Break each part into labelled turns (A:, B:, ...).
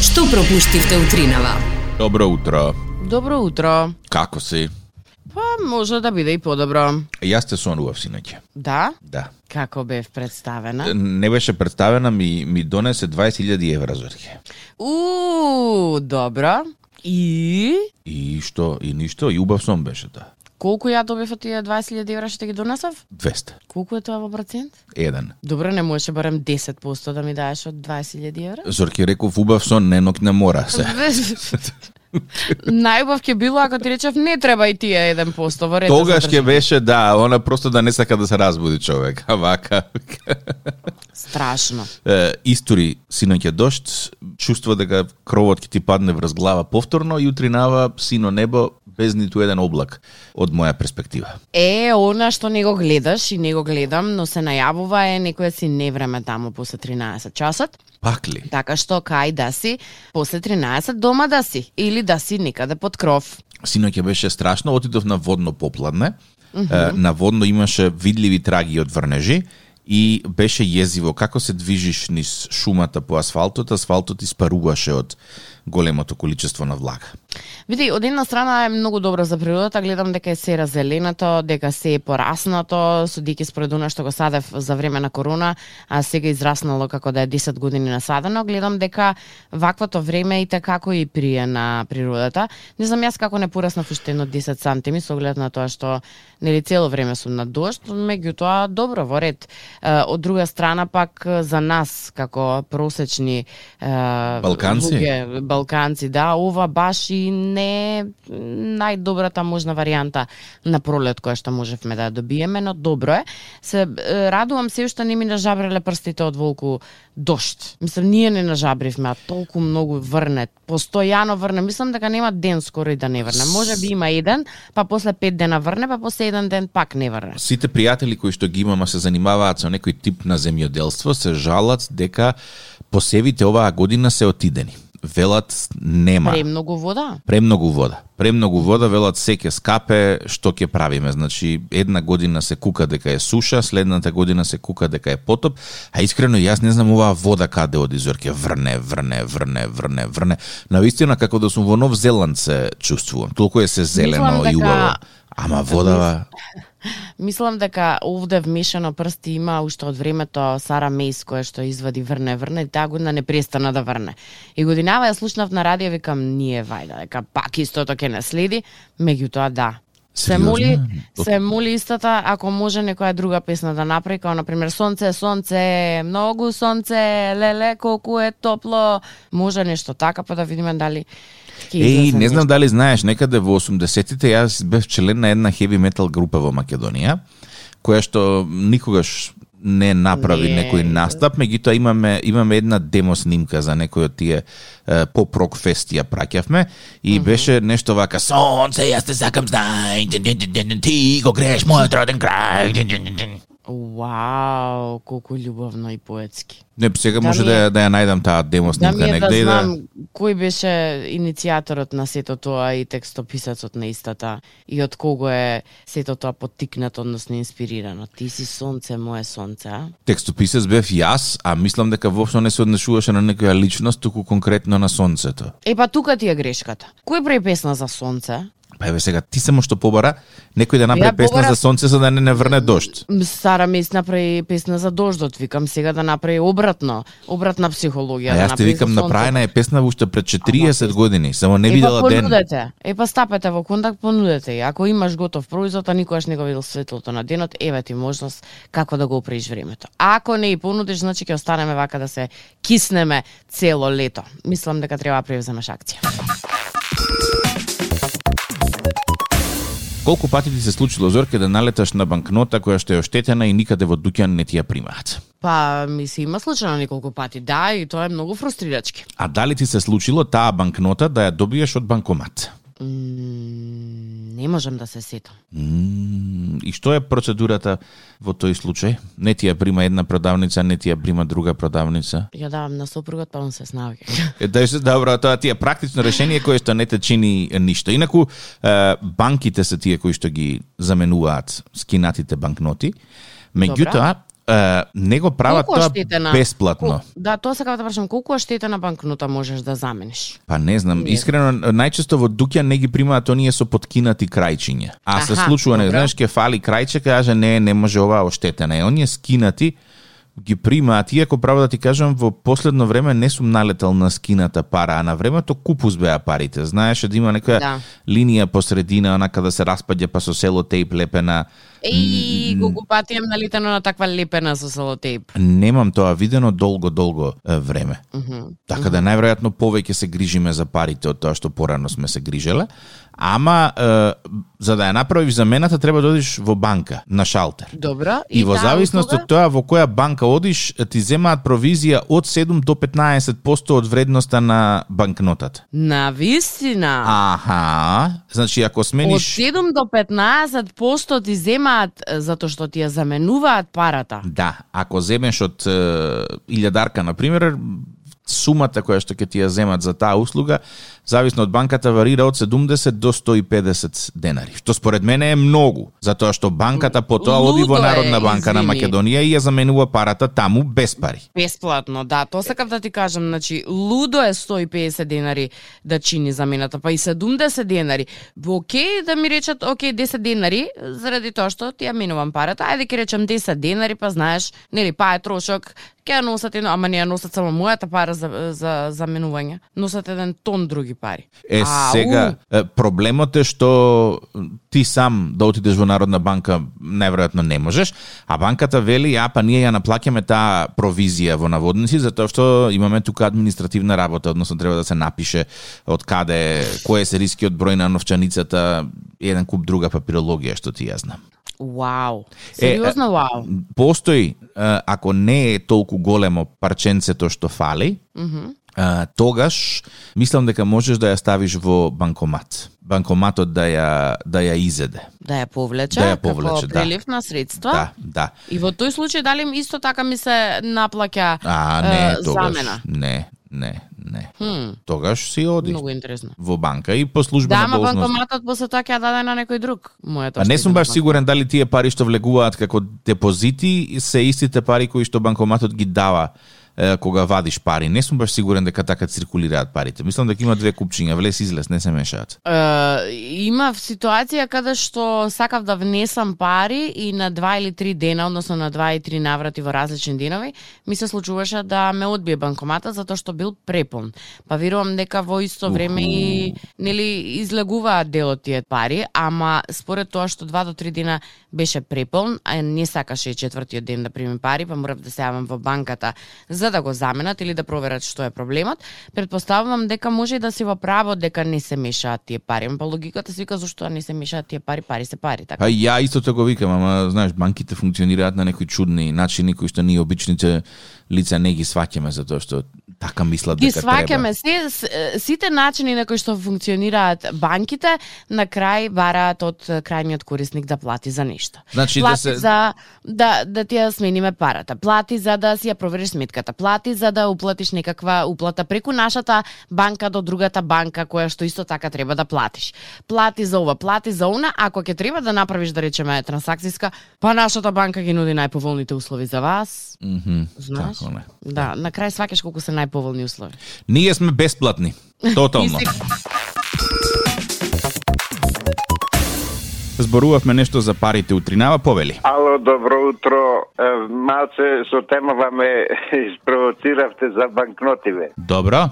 A: Што пропуштивте утринава?
B: Добро утро.
C: Добро утро.
B: Како си?
C: Па може да биде и подобро.
B: Јас те сонував синоќа.
C: Да?
B: Да.
C: Како бев представена?
B: Не беше представена, ми, ми донесе 20.000 евра зорке.
C: У, добро. И
B: И што, и ништо, и убав сон беше, да.
C: колку ја добив од тие 20.000 евра што ги донесав?
B: 200.
C: Колку е тоа во процент?
B: Еден.
C: Добро, не можеше барем 10% да ми дадеш од 20.000 евра?
B: Зорки реков убав сон, не нок не мора се.
C: Најубав ќе било ако ти речев не треба и тие 1% во ред.
B: Тогаш ќе беше, да, она просто да не сака да се разбуди човек. А вака,
C: Страшно.
B: е, истори синоќа дошт, чувства дека кровот ќе ти падне врз глава повторно и утринава сино небо без ниту еден облак од моја перспектива.
C: Е, она што не го гледаш и не го гледам, но се најавува е некоја си невреме таму после 13 часот.
B: Пак ли?
C: Така што кај да си, после 13 дома да си или да си никаде под кров.
B: синоќа беше страшно, отидов на водно попладне. Е, На водно имаше видливи траги од врнежи и беше језиво како се движиш низ шумата по асфалтот, асфалтот испаруваше од големото количество на влага.
C: Види, од една страна е многу добро за природата, гледам дека е се разеленото, дека се е пораснато, судики според она што го садев за време на корона, а сега израснало како да е 10 години насадено, гледам дека ваквото време и како и прие на природата. Не знам јас како не пораснав уште едно 10 сантими со оглед на тоа што нели цело време сум на дожд, меѓутоа добро во ред. Е, Од друга страна пак е, за нас како просечни е,
B: Балканци?
C: луѓе, Балканци, да, ова баш и не е најдобрата можна варијанта на пролет која што можевме да ја добиеме, но добро е. Се е, радувам се што не ми нажабреле прстите од волку дошт. Мислам ние не нажабривме, а толку многу врне, постојано врне. Мислам дека нема ден скоро и да не врне. Може би има еден, па после пет дена врне, па после еден ден пак не врне.
B: Сите пријатели кои што ги имам а се занимаваат со некој тип на земјоделство се жалат дека посевите оваа година се отидени. Велат нема.
C: Премногу вода.
B: премногу вода. Премногу вода, велат се ќе скапе, што ќе правиме? Значи, една година се кука дека е суша, следната година се кука дека е потоп, а искрено јас не знам оваа вода каде оди, зорке врне, врне, врне, врне, врне. Навистина како да сум во Нов Зеланд се чувствувам. Толку е се зелено
C: Мислам дека-
B: и убаво. Ама водава,
C: Мислам дека овде вмешано прсти има уште од времето Сара Мейс која што извади врне врне и таа година не престана да врне. И годинава ја слушнав на радио викам ние вајда дека пак истото ќе не следи, меѓутоа да. Се
B: Сериозно?
C: моли, се моли истата ако може некоја друга песна да направи, како на пример Сонце, сонце, многу сонце, леле колку е топло, може нешто така па да видиме дали ќе
B: Еј,
C: излезе
B: не знам
C: нешто.
B: дали знаеш, некаде во 80-тите јас бев член на една хеви метал група во Македонија, која што никогаш не направи
C: Не.
B: некој настап, меѓутоа имаме имаме една демо снимка за некој од тие е, поп рок фест ја праќавме и беше нешто вака сонце јас те сакам знај дин, дин, дин, дин, дин, ти го греш мојот роден крај дин, дин, дин, дин.
C: Вау, колку любовно и поетски.
B: Не, сега
C: Да
B: може
C: ми
B: да
C: е-
B: ја, да ја најдам таа демо
C: Да
B: снимка
C: ми е да
B: негде и да
C: знам кој беше иницијаторот на сето тоа и текстописецот на истата и од кого е сето тоа поттикнато, односно инспирирано. Ти си сонце, мое сонце, а?
B: текстописец бев јас, а мислам дека воопшто не се однесуваше на некоја личност, туку конкретно на сонцето.
C: Е, па тука ти е грешката. Кој прави песна за сонце?
B: Па еве сега, ти само што побара, некој да направи
C: Ја
B: песна
C: побара-
B: за сонце за да не не врне дожд.
C: М, Сара Мес направи песна за дождот, викам сега да направи обратно, обратна психологија.
B: А
C: да
B: јас ти
C: направи за
B: викам
C: сонцето.
B: направена е песна уште пред 40 години, само не
C: Е, па
B: видела ден.
C: понудете. Е, па стапете во контакт, понудете ја. Ако имаш готов производ, а никогаш не го видел светлото на денот, еве ти можност како да го опреш времето. А ако не и понудиш, значи ќе останеме вака да се киснеме цело лето. Мислам дека треба да превземеш акција.
B: Колку пати ти се случило зорке да налеташ на банкнота која што е оштетена и никаде во дуќан не ти ја примаат?
C: Па, ми се има случајно неколку пати, да, и тоа е многу фрустрирачки.
B: А дали ти се случило таа банкнота да ја добиеш од банкомат?
C: М, не можам да се сетам.
B: М, И што е процедурата во тој случај? Не ти ја прима една продавница, не ти ја прима друга продавница?
C: Ја давам на сопругот, па он се снаоѓа.
B: Е, да се добро, тоа ти е практично решение кое што не те чини ништо. Инаку е, банките се тие кои што ги заменуваат скинатите банкноти. Меѓутоа, е, не го прават
C: Колку
B: тоа
C: штете на-
B: бесплатно.
C: Ку- Да, тоа сакам да прашам, колку е штета на банкнота можеш да замениш?
B: Па не знам,
C: Не.
B: искрено најчесто во дуќа не ги примаат оние со подкинати крајчиња. А се
C: Аха,
B: случува, не
C: добро.
B: знаеш, ке фали крајче, каже не, не може оваа оштетена е. Оние скинати ги примаат, иако право да ти кажам, во последно време не сум налетал на скината пара, а на времето купус беа парите. Знаеше да има некоја
C: Да.
B: линија посредина, онака да се распаѓа па со село тейп лепена.
C: Еј, колку пати им налитано на таква лепена со салотейп.
B: Немам тоа видено долго, долго е, време. Така да најверојатно повеќе се грижиме за парите од тоа што порано сме се грижеле, ама е, за да ја направиш замената треба да одиш во банка на шалтер.
C: Добро.
B: И, во
C: таа
B: зависност од
C: услуга?
B: тоа во која банка одиш, ти земаат провизија од 7 до 15% од вредноста на банкнотата.
C: На вистина.
B: Аха, значи ако
C: Од
B: смениш
C: 7 до 15% ти земаат е, затоа што ти ја заменуваат парата.
B: Да, ако земеш од е, илјадарка на пример, сумата која што ќе ти ја земат за таа услуга, зависно од банката варира од 70 до 150 денари, што според мене е многу, затоа што банката потоа оди во
C: Лудо е,
B: Народна банка на
C: извини.
B: Македонија и ја заменува парата таму без пари.
C: Бесплатно, да, тоа сакав да ти кажам, значи, лудо е 150 денари да чини замената, па и 70 денари. Океј да ми речат, океј, 10 денари, заради тоа што ти ја минувам парата, ајде ќе речам 10 денари, па знаеш, нели, па е трошок, ќе ја носат, едно, ама не ја носат само мојата пара за, за заменување, носат еден тон други пари.
B: Е,
C: Ау.
B: сега, е, проблемот е што ти сам да отидеш во Народна банка најверојатно не можеш, а банката вели, а па ние ја наплакеме таа провизија во наводници, затоа што имаме тука административна работа, односно треба да се напише од каде, кој е се рискиот број на новчаницата, еден куп друга папирологија што ти ја знам.
C: Вау, сериозно
B: е,
C: вау.
B: Постои, е, ако не е толку големо парченцето што фали,
C: Мгм.
B: а, тогаш мислам дека можеш да ја ставиш во банкомат. Банкоматот да ја да ја изеде.
C: Да ја повлече,
B: Да ја повлече, да.
C: како прилив на средства.
B: Да, да.
C: И во тој случај дали им исто така ми се наплаќа
B: А не
C: е,
B: тогаш.
C: замена.
B: Не, не, не.
C: Хм,
B: Тогаш си оди
C: многу интересно.
B: во банка и по службена
C: Да, ама
B: должност.
C: банкоматот после тоа ќе ја даде на некој друг. Мојата
B: А не
C: штета
B: сум
C: на
B: баш
C: банк.
B: сигурен дали тие пари што влегуваат како депозити се истите пари кои што банкоматот ги дава е, кога вадиш пари. Не сум баш сигурен дека така циркулираат парите. Мислам дека има две купчиња, влез излез, не се мешаат.
C: Е, имав ситуација каде што сакав да внесам пари и на два или три дена, односно на два и три наврати во различни денови, ми се случуваше да ме одбие банкомата затоа што бил препун. Па верувам дека во исто време и нели излегуваат дел од тие пари, ама според тоа што два до три дена беше препун, а не сакаше и четвртиот ден да примам пари, па морав да се јавам во банката за да го заменат или да проверат што е проблемот, предпоставувам дека може и да си во право дека не се мешаат тие пари. Ама Па логиката се вика зошто не се мешаат тие пари, пари се пари, така.
B: Па и ја исто тоа го викам, ама знаеш, банките функционираат на некои чудни начини кои што ние обичните лица не ги сваќаме затоа што така мислат
C: Ги
B: дека треба.
C: сваќаме се с- е, сите начини на кои што функционираат банките, на крај бараат од е, крајниот корисник да плати за нешто.
B: Значи да
C: плати
B: се
C: за да да ти ја смениме парата, плати за да си ја провериш сметката, плати за да уплатиш некаква уплата преку нашата банка до другата банка која што исто така треба да платиш. Плати за ова, плати за она, ако ќе треба да направиш да речеме трансакциска, па нашата банка ги нуди најповолните услови за вас.
B: Мгм,
C: Знаеш?
B: Тако, не.
C: Да, на крај сваќаш колку се најповолни услови.
B: Ние сме бесплатни. Тотално.
C: Ти
B: Зборувавме нешто за парите утринава, повели.
A: Ало, добро утро. Е, Малце со темава ме испровоциравте за банкнотиве.
B: Добро.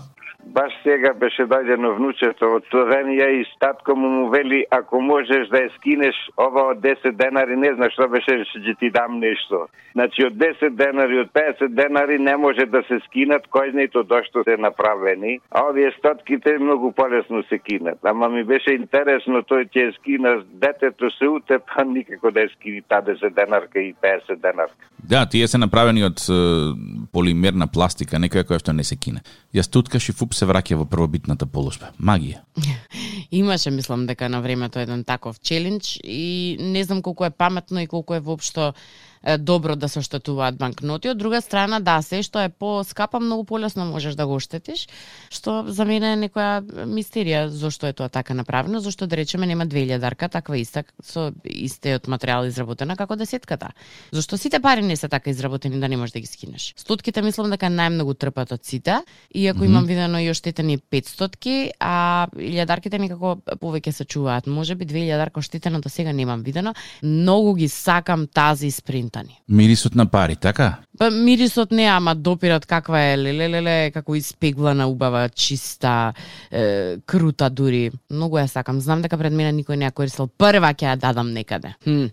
A: Баш сега беше дојдено внучето од Словенија и статко му му вели ако можеш да ја скинеш ова од 10 денари, не знам што беше, што ќе ти дам нешто. Значи од 10 денари, од 50 денари не може да се скинат, кој знае тоа дошто се направени, а овие стотките многу полесно се кинат. Ама ми беше интересно тој ќе ја скина детето се утепа никако да ја скини та 10 денарка и 50 денарка.
B: Да, тие се направени од е, полимерна пластика, некоја која што не се кине. Ја стуткаш и фуп се враќа во првобитната положба. Магија.
C: Имаше, мислам, дека на времето еден таков челендж и не знам колку е паметно и колку е воопшто е, добро да се оштетуваат банкноти. Од друга страна, да, се што е поскапа, многу полесно можеш да го оштетиш, што за мене е некоја мистерија зошто е тоа така направено, зошто да речеме нема 2000 дарка таква иста со истиот материјал изработена како десетката. Зошто сите пари не се така изработени да не можеш да ги скинеш. Стотките мислам дека најмногу трпат од сите, иако
B: Мгм.
C: имам видено и оштетени 500-ки, а илјадарките некако повеќе се чуваат. Може би 2000-дарка оштетена до сега немам видено. Многу ги сакам тази испринтани.
B: Мирисот на пари, така?
C: Па мирисот не, ама допират каква е лелелеле, како испеглана, убава, чиста, е, крута дури. Многу ја сакам. Знам дека пред мене никој не ја користил. Прва ќе ја дадам некаде. Хм.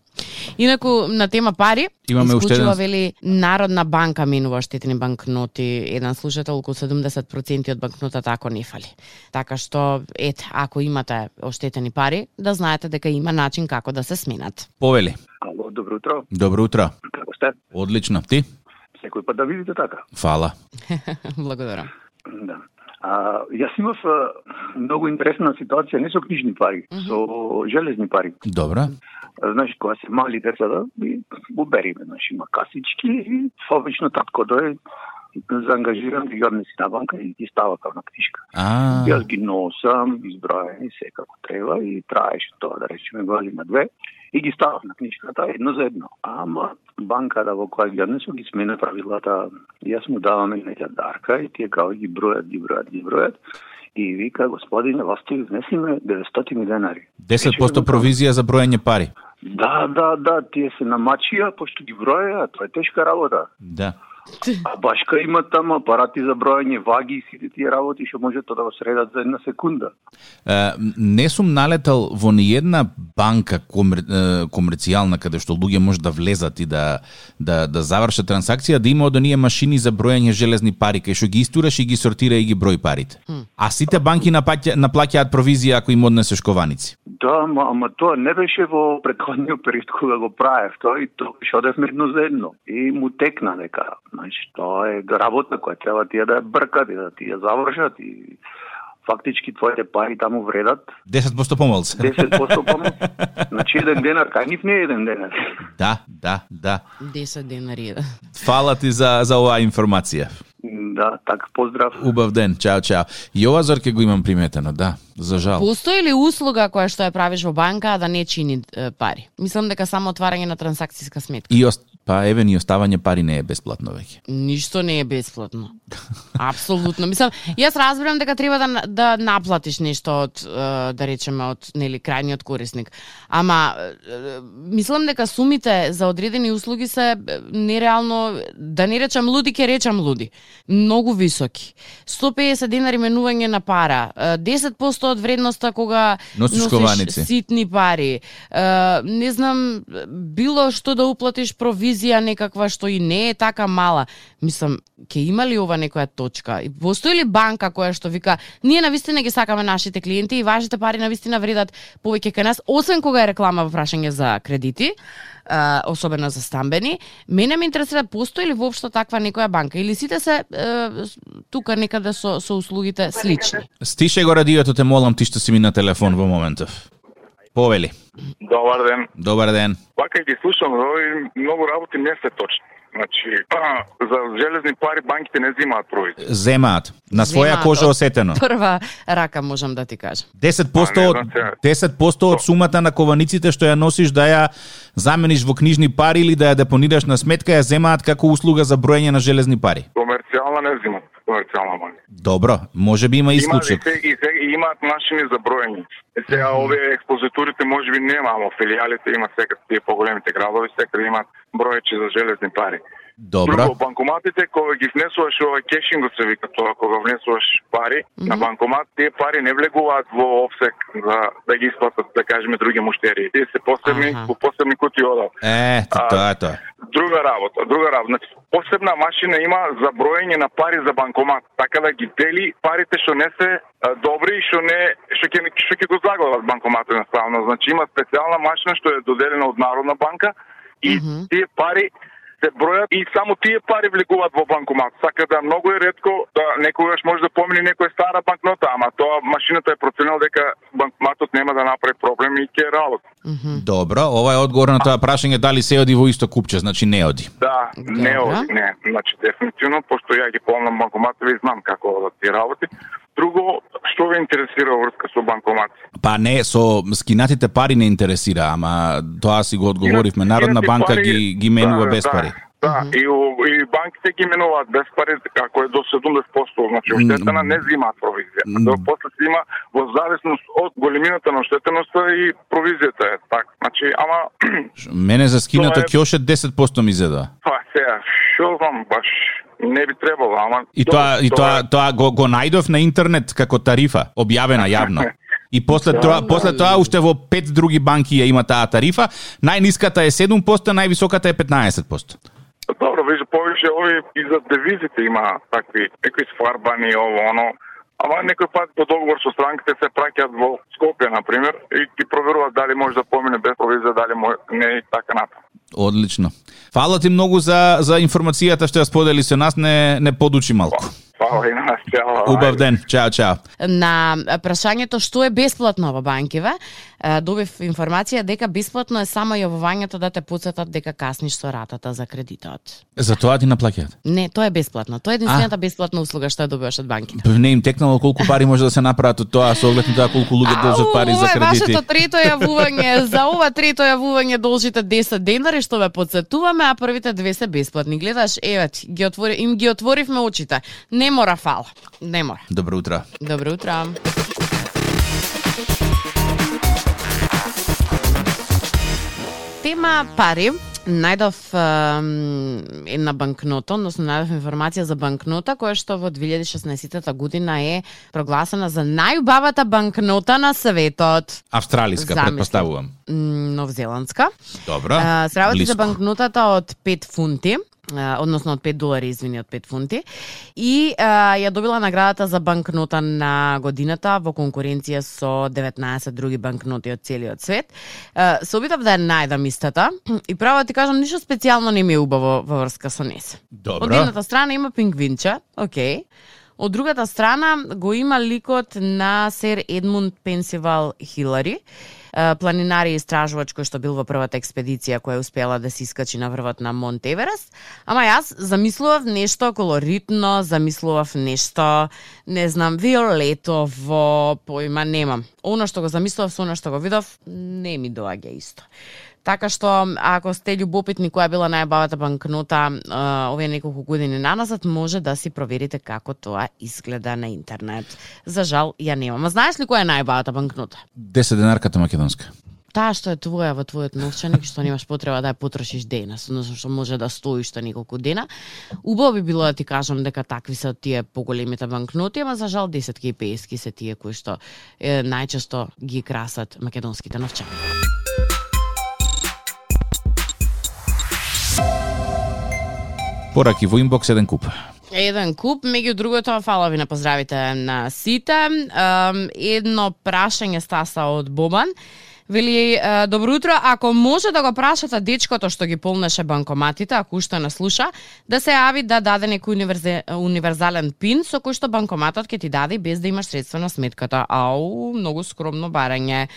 C: Инаку на тема пари,
B: Имаме уште
C: исклучува
B: еден-
C: вели Народна банка минува штетни банкноти. Еден слушател околу 70% од банкнотата ако не фали. Така што ете, ако имате оштетени пари, да знаете дека има начин како да се сменат.
B: Повели.
D: Ало, добро утро.
B: Добро утро.
D: Како сте?
B: Одлично. Ти?
D: Секој пат да видите така.
B: Фала.
C: Благодарам.
D: Да. А, јас имав а, многу интересна ситуација, не со книжни пари,
C: Мгм.
D: со железни пари.
B: Добра.
D: А, Знаеш, кога се мали децата, ми убериме, знаеш, има касички и обично татко дојде заангажирам ги јадне си на банка и ги става како на книжка.
B: А,
D: Јас ги носам, избраени се како треба и траеше тоа, да речеме, година две. И ги ставав на книжката едно за едно. Ама банката во која ги однесо ги смена правилата. Јас му даваме нека дарка и тие као ги бројат, ги бројат, ги бројат. И вика, господине, вас ти внесиме 900 денари.
B: 10% провизија за броење пари.
D: Да, да, да, тие се намачија, пошто ги броја, тоа е тешка работа.
B: Да.
D: А башка има таму апарати за бројање ваги и сите тие работи што може тоа да го средат за една секунда.
B: Е, не сум налетал во ниедна банка комер, е, комерцијална каде што луѓе може да влезат и да да да завршат трансакција да има од оние машини за броење железни пари кај што ги истураш и ги сортира и ги број парите. А сите банки напаќа, наплаќаат провизија ако им однесеш кованици.
D: Да, ма, ама тоа не беше во предходниот период кога го правев, тоа и тоа беше одевме едно за едно. И му текна дека, значи, тоа е работа која треба тие да ја бркат и да ти ја завршат и фактички твоите пари таму вредат
B: 10% помал
D: 10% помал. Значи еден денар, кај нив не е еден денар.
B: Да, да, да.
C: 10 денари.
B: Фала ти за за оваа информација.
D: Да, така поздрав.
B: Убав ден. Чао, чао. И ова зорке го имам приметено, да. За жал.
C: Постои ли услуга која што ја правиш во банка а да не чини е, пари? Мислам дека само отварање на трансакциска сметка.
B: И ост... па евен и оставање пари не е бесплатно веќе.
C: Ништо не е бесплатно. Апсолутно. Мислам, јас разбирам дека треба да на- да наплатиш нешто од е, да речеме од нели крајниот корисник. Ама е, е, мислам дека сумите за одредени услуги се е, нереално да не речам луди, ќе речам луди. Многу високи. 150 денари менување на пара, е, 10% од вредноста кога
B: Носиш кованици.
C: ситни пари. Е, не знам, било што да уплатиш провизија некаква што и не е така мала. Мислам, ќе има ли ова некоја точка? И постои ли банка која што вика, ние на вистина ги сакаме нашите клиенти и вашите пари на вистина вредат повеќе кај нас, освен кога е реклама во прашање за кредити, а, особено за стамбени, мене ме интересира постои ли воопшто таква некоја банка или сите се е, с- тука некаде со со услугите слични.
B: Стише го радиото, те молам ти што си ми на телефон во моментов. Повели.
E: Добар ден.
B: Добар ден.
E: Вака ги слушам, и многу работи не се точни. Значи, за железни пари банките не взимаат провизија.
B: Земаат. На своја
C: Земаат
B: кожа
C: од- Па-
B: осетено.
C: Прва рака можам да ти кажам.
B: 10% од
E: Па, не знам сега.
B: 10% од сумата на кованиците што ја носиш да ја замениш во книжни пари или да ја депонираш на сметка ја земаат како услуга за броење на железни пари.
E: Комерцијална не взимат, комерцијална банка.
B: Добро, може би има
E: Има, и,
B: исклучок.
E: се, и, се, и имаат начини за броење. Е, Сега овие експозитурите може би нема, ама филијалите има секад тие поголемите градови, секад имаат броечи за железни пари. Друго,
B: Добро.
E: банкоматите, кога ги внесуваш овој кешинг се вика тоа, кога внесуваш пари на банкомат, тие пари не влегуваат во офсек за да ги исплатат, да кажеме, други муштери. Тие се посебни,
C: Аха.
E: во посебни кутии одат.
B: Е,
E: А,
B: тоа е тоа.
E: Друга работа, друга работа. Значи, посебна машина има за броење на пари за банкомат, така да ги дели парите што не се а, добри и што не што ќе што ќе го загладат банкоматот едноставно. Значи има специјална машина што е доделена од Народна банка и тие пари се бројат и само тие пари влегуваат во банкомат. Така да многу е ретко да некогаш може да помине некоја стара банкнота, ама тоа машината е проценила дека банкоматот нема да направи проблем и ќе работи.
B: Добро, ова е одговор на тоа прашање дали се оди во исто купче, значи не оди.
E: Да, не
C: Добра.
E: оди, не. Значи, дефинитивно, пошто ја ги помнам банкоматите, ви знам како одат тие работи. Друго, што ве интересира во врска со банкомати?
B: Па не, со скинатите пари не интересира, ама тоа си го одговоривме.
E: Инаку-
B: Народна
E: инаку
B: банка
E: пари-
B: ги ги менува
E: да,
B: без
E: да,
B: пари.
E: Да, и, у- и банките ги менуваат без пари, како е до 70%, значи оштетена не взимаат провизија.
B: М.
E: До после се има во зависност од големината на оштетеноста и провизијата е така. Значи, ама
B: Ш- Мене за скинато
E: Тоа е-
B: кјоше 10% ми зедоа.
E: па сега, што знам баш не би требало, ама
B: И
E: добро,
B: тоа и тоа тоа го го најдов на интернет како тарифа, објавена јавно. И
E: Да,
B: после тоа, после тоа уште во пет други банки ја има таа тарифа. Најниската е 7%, највисоката е 15%.
E: Добро, веќе повеќе овие и за девизите има такви, некои сфарбани, ово, оно. Ама некој пат по договор со странките се праќаат во Скопје, на пример, и ти проверуваат дали може да помине без провизија, дали може, не и така натаму.
B: Одлично. Фала ти многу за за информацијата што ја сподели со нас, не не подучи малку.
E: Фала и на нас, чао.
B: Убав
E: ајде.
B: ден. Чао, чао.
C: на прашањето што е бесплатно во банкиве, е, добив информација дека бесплатно е само јавувањето да те подсетат дека касниш со ратата за кредитот.
B: За тоа ти наплаќаат.
C: Не, тоа е бесплатно. Тоа е единствената бесплатна услуга што ја добиваш од банките.
B: Не им текнало колку пари може да се направат од тоа со оглед на тоа колку луѓе должат
C: Ау,
B: пари за
C: Ова е
B: кредити.
C: вашето трето јавување. За ова трето јавување должите 10 денари што ве подсетуваме, а првите две се бесплатни. Гледаш, еве, ти, ги отвори, им ги отворивме очите. Не мора фала. Не мора.
B: Добро утро.
C: Добро утро. Тема пари. Најдов ем, една банкнота, односно најдов информација за банкнота која што во 2016 година е прогласена за најубавата банкнота на светот.
B: Австралиска,
C: Замисли.
B: предпоставувам.
C: М, Новзеландска.
B: Добро.
C: А, се работи за
B: близко.
C: банкнотата од 5 фунти, а, односно од 5 долари, извини, од 5 фунти. И а, ја добила наградата за банкнота на годината во конкуренција со 19 други банкноти од целиот свет. А, се обидав да ја најдам истата и право да ти кажам, ништо специјално не ми е убаво во врска со нес.
B: Добро.
C: Од едната страна има пингвинче, окей. Од другата страна го има ликот на сер Едмунд Пенсивал Хилари, е, планинар и истражувач кој што бил во првата експедиција која успела да се искачи на врвот на Монт Еверест. Ама јас замислував нешто колоритно, замислував нешто, не знам, виолето во појма немам. Оно што го замислував со оно што го видов, не ми доаѓа исто. Така што, ако сте љубопитни која била најбавата банкнота а, овие неколку години наназад, може да си проверите како тоа изгледа на интернет. За жал, ја немам. А знаеш ли која е најбавата банкнота?
B: 10 денарката македонска.
C: Таа што е твоја во твојот новчаник, што немаш потреба да ја потрошиш денес, односно што може да стоиш што неколку дена. Убаво би било да ти кажам дека такви се тие поголемите банкноти, ама за жал 10 и 50 се тие кои што е, најчесто ги красат македонските новчани.
B: Пораки во инбокс еден куп.
C: Еден куп, меѓу другото, фала ви на поздравите на сите. Ем, Едно прашање стаса од Бобан. Вели, е, добро утро, ако може да го прашате дечкото што ги полнеше банкоматите, ако уште не слуша, да се јави да даде некој универзе, универзален пин со кој што банкоматот ќе ти даде и без да имаш средства на сметката. Ау, многу скромно барање.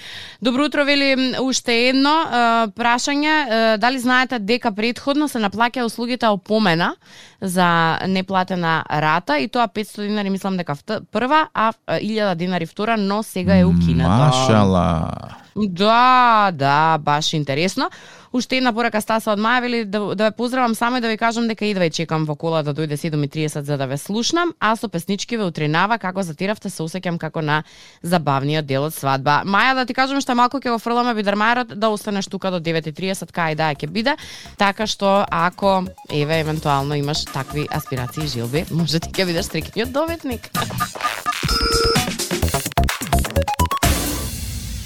C: Добро утро, вели, уште едно е, прашање, е, дали знаете дека предходно се наплаќа услугите опомена за неплатена рата и тоа 500 динари мислам дека вт- прва, а е, 1000 динари втора, но сега е укинато.
B: Машала.
C: Да, да, баш интересно. Уште една порака Стаса од Маја вели да, да ве поздравам само и да ви кажам дека идва и чекам во кола да дојде 7.30 за да ве слушнам, а со песнички ве утринава како затиравте се усеќам како на забавниот дел од свадба. Маја да ти кажам што малку ќе го фрламе бидермајерот да останеш тука до 9.30, кај да ќе биде, така што ако еве евентуално имаш такви аспирации и желби, може да ти ќе бидеш стрикниот доветник.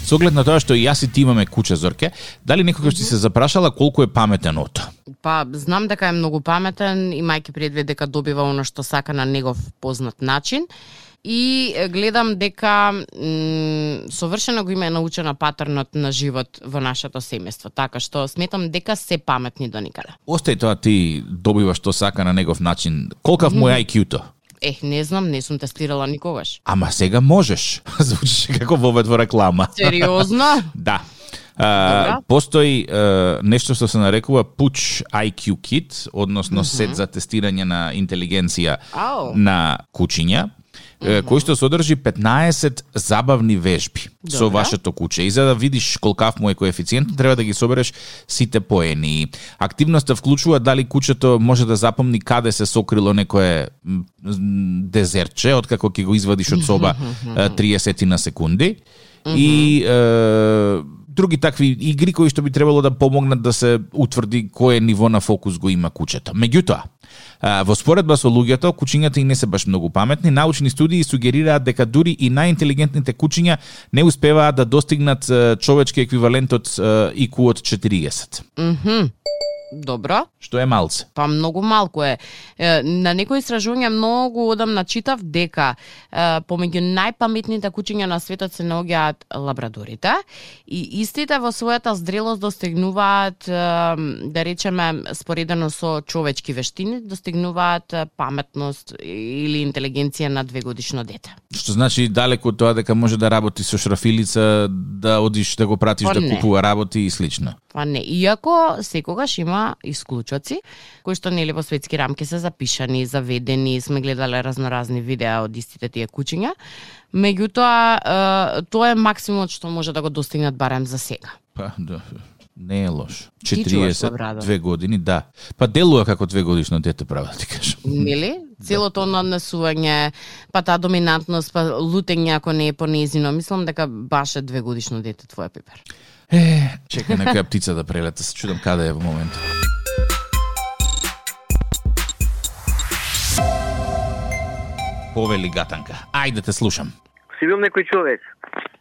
B: Со оглед на тоа што и јас и ти имаме куче зорке, дали некогаш ти се запрашала колку е паметен ото?
C: Па, знам дека е многу паметен, имајќи предвид дека добива оно што сака на негов познат начин. и е, гледам дека м, совршено го има научено патернот на живот во нашето семејство, така што сметам дека се паметни до никаде.
B: Остај тоа ти добиваш што сака на негов начин. Колкав му е IQ-то?
C: Ех, не знам, не сум тестирала никогаш.
B: Ама сега можеш. Звучи како вовед во реклама.
C: Сериозно?
B: Да. А,
C: Добра.
B: постои а, нешто што се нарекува Puch IQ Kit, односно сет за тестирање на интелигенција
C: Ау.
B: на кучиња, е, кој што содржи 15 забавни вежби со
C: Добра.
B: вашето куче. И за да видиш колкав му е коефициент, треба да ги собереш сите поени. Активноста вклучува дали кучето може да запомни каде се сокрило некое м, м, дезерче, откако ќе го извадиш од соба е, 30 на секунди. И е, други такви игри кои што би требало да помогнат да се утврди кое ниво на фокус го има кучето. Меѓутоа, а, во споредба со луѓето, кучињата и не се баш многу паметни. Научни студии сугерираат дека дури и најинтелигентните кучиња не успеваат да достигнат е, човечки еквивалент од е, IQ од 40,
C: Мгм. Добро.
B: што е малце.
C: Па многу малку е. Е, На некои истражувања многу одамна читав дека е, помеѓу најпаметните кучиња на светот се наоѓаат лабрадорите и истите во својата зрелост достигнуваат е, да речеме споредено со човечки вештини достигнуваат е, паметност или интелигенција на двегодишно дете.
B: Што значи далеку од тоа дека може да работи со шрафилица, да одиш да го пратиш
C: Па
B: да
C: не.
B: купува работи и слично.
C: Па не, иако секогаш има исклучоци кои што нели во светски рамки се запишани, заведени, сме гледале разноразни видеа од истите тие кучиња. Меѓутоа, е, тоа е максимумот што може да го достигнат барем за сега.
B: Па, да. Не е лош.
C: Ти чуваш,
B: 40,
C: Лабрадор.
B: две години, да. Па делува како две годишно дете, право да ти кажам.
C: Нели? Целото наднесување, па таа доминантност, па лутење ако не е понезино. Мислам дека баш е двегодишно дете твоја пипер.
B: Е, чека некоја птица да прелета, се чудам каде е во моментот. Повели гатанка. Ајде те слушам.
F: си бил некој човек.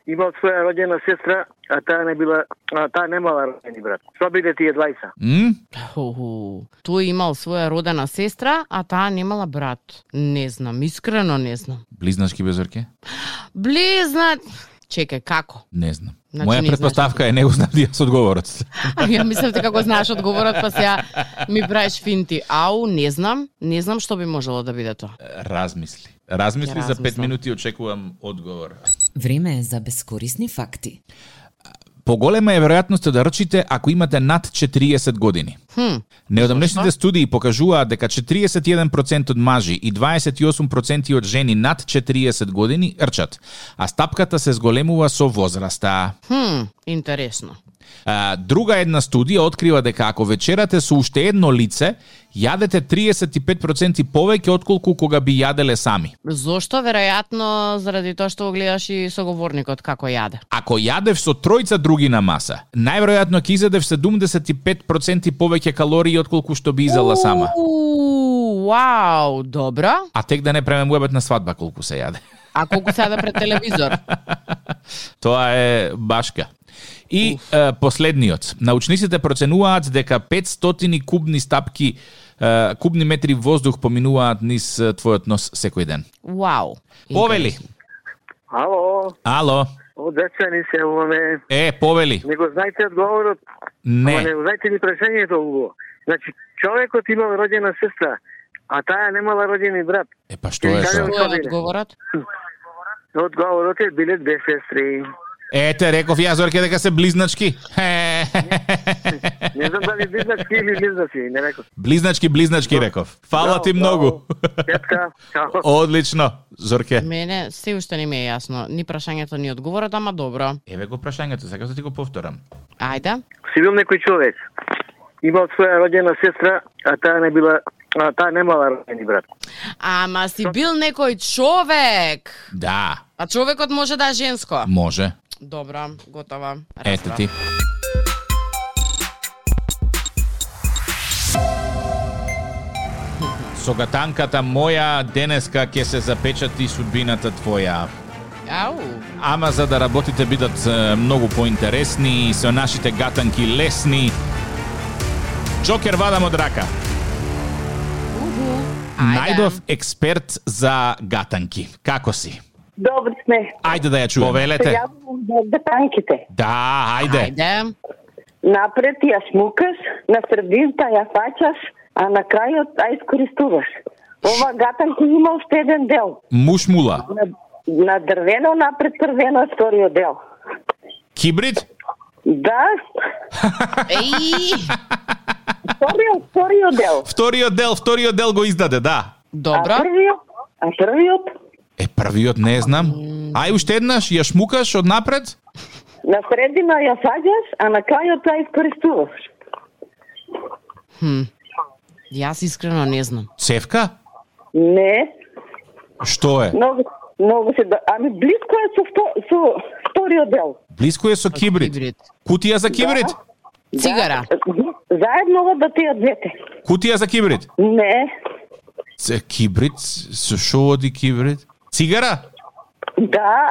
F: Имал своја родена сестра, а таа не била, а таа немала родени брат. Што биде тие двајца?
B: М?
C: Хо-хо. Тој имал своја родена сестра, а таа немала брат. Не знам, искрено не знам.
B: Близначки без орке?
C: Близнат. Чекај, како?
B: Не знам.
C: Значи, не
B: Моја
C: знаеш
B: предпоставка е не го знам јас одговорот.
C: А ја мислам дека го знаеш одговорот, па сега ми правиш финти. Ау, не знам, не знам што би можело да биде тоа.
B: Размисли. Размисли
C: Ја
B: за 5
C: размислам.
B: минути очекувам одговор.
G: Време е за безкорисни факти.
B: Поголема е веројатноста да рчите ако имате над 40 години.
C: Хм,
B: Неодамнешните студии покажуваат дека 41% од мажи и 28% од жени над 40 години рчат, а стапката се зголемува со возраста.
C: хм, интересно.
B: А, друга една студија открива дека ако вечерате со уште едно лице, јадете 35% повеќе отколку кога би јаделе сами.
C: Зошто? Веројатно заради тоа што го гледаш и соговорникот како јаде.
B: Ако јадев со тројца други на маса, најверојатно ќе изедев 75% повеќе калории отколку што би изела сама.
C: Уу, вау, добро.
B: А тек да не премемуваме на свадба колку се јаде.
C: А колку сада пред телевизор?
B: Тоа е башка. И е, последниот. Научниците проценуваат дека 500 кубни стапки, е, кубни метри воздух поминуваат низ е, твојот нос секој ден.
C: Вау.
B: Повели.
F: Ало,
B: Ало.
F: од деца ни се јавуваме.
B: Е, повели.
F: Не го знаете одговорот, ама не
B: Не.
F: го знаете ни прашањето убаво. Значи, човекот имал родена сестра, а таа немала родени брат.
B: Е, па што е тоа?
C: Кој е одговорот?
F: Одговорот е биле две сестри.
B: Ете, реков ја Зорке дека се близначки. Е,
F: Не знам дали близначки или близначки, не реков.
B: Близначки, близначки реков. Фала
F: Браво,
B: ти
F: браво.
B: многу.
F: Тетка, чао.
B: Одлично, Зорке.
C: Мене се уште не ми е јасно. Ни прашањето, ни одговорот, ама добро.
B: Еве го прашањето, сега да ти го повторам.
C: Ајде.
F: си бил некој човек. Имал своја родена сестра, а таа не била, а таа немала родени брат.
C: Ама си бил некој човек.
B: Да,
C: А човекот може да е женско.
B: може.
C: Добра, готова.
B: Ете
C: Расправа.
B: ти. Со гатанката моја денеска ќе се запечати судбината твоја.
C: Ау.
B: Ама за да работите бидат е, многу поинтересни и со нашите гатанки лесни. Джокер вадам од рака.
C: Уху. Ајде.
H: најдов експерт за гатанки. Како си?
I: Добри сме.
H: Ајде да ја чуем.
B: Повелете.
I: Пријавувам до детанките.
H: Да, ајде.
C: Ајде.
I: Напред ја смукаш, на средината ја фаќаш, а на крајот ја искористуваш. Ова гатанка има уште еден дел.
H: Муш мула.
I: На, на дрвено напред првено е вториот дел.
H: Кибрид?
I: Да,
C: Еј,
I: вториот, вториот дел.
H: Вториот дел, вториот дел го издаде, да.
C: добро.
I: А првиот, а првиот
B: Е, првиот не знам.
H: Ај уште еднаш ја шмукаш од напред?
I: на средина ја фаќаш, а на крајот ја искористуваш.
C: Хм. Јас искрено не знам.
B: Цевка?
I: Не,
B: Што е?
I: многу многу се да, ами близко е со вто, со вториот дел.
B: Блиско е со кибрид.
C: Хибрид.
B: Кутија за кибрид?
C: Цигара.
I: Да, заедно ова да тие двете.
B: Кутија за кибрид.
I: Не,
B: Це кибрид? Со шо оди кибрид? Цигара?
I: да,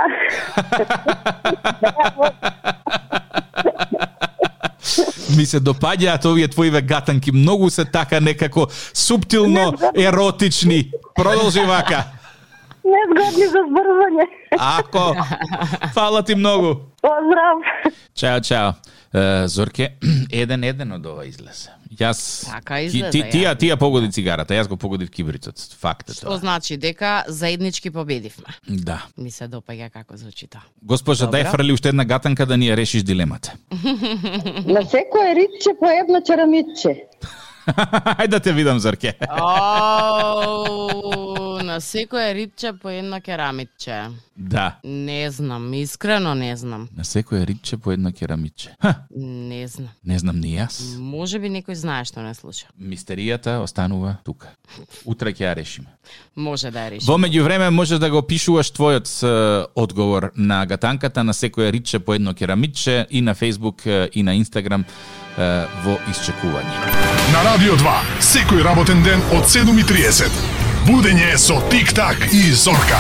H: Ми се допаѓаат овие твоиве гатанки, многу се така некако суптилно еротични. Продолжи вака.
I: незгодни за збрзање.
H: Ако. Фала ти многу.
I: Поздрав.
B: Чао, чао. Е, Зорке, еден еден од ова излезе. Јас
C: Така
B: ти-
C: излезе,
B: ти,
C: ја.
B: тија тија погоди цигарата, јас го погодив кибрицот. Факт е
C: Што
B: тоа.
C: значи дека заеднички победивме.
B: Да.
C: Ми се допаѓа како звучи тоа.
B: Госпожа, дај фрли уште една гатанка да ни ја решиш дилемата.
I: На секое ритче по едно черамитче.
B: Ајде да те видам, Зорке.
C: Оу, на секое рибче по едно керамитче.
B: Да.
C: Не знам, искрено не знам.
B: На секој риче по едно керамиче. Ха,
C: Не знам.
B: не знам ни јас.
C: Може би некој знае што не слуша.
B: Мистеријата останува тука. Утре ќе ја решиме.
C: Може да ја реши.
B: Во меѓувреме можеш да го пишуваш твојот е, одговор на гатанката на секое риче по едно керамиче и на Facebook е, и на Instagram е, во исчекување.
J: На Радио 2, секој работен ден од 7.30. Будење со Тик-так и Зорка.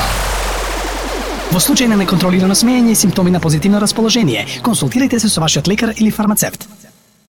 K: Во случај на неконтролирано смеење и симптоми на позитивно расположение, консултирайте се со вашиот лекар или фармацевт.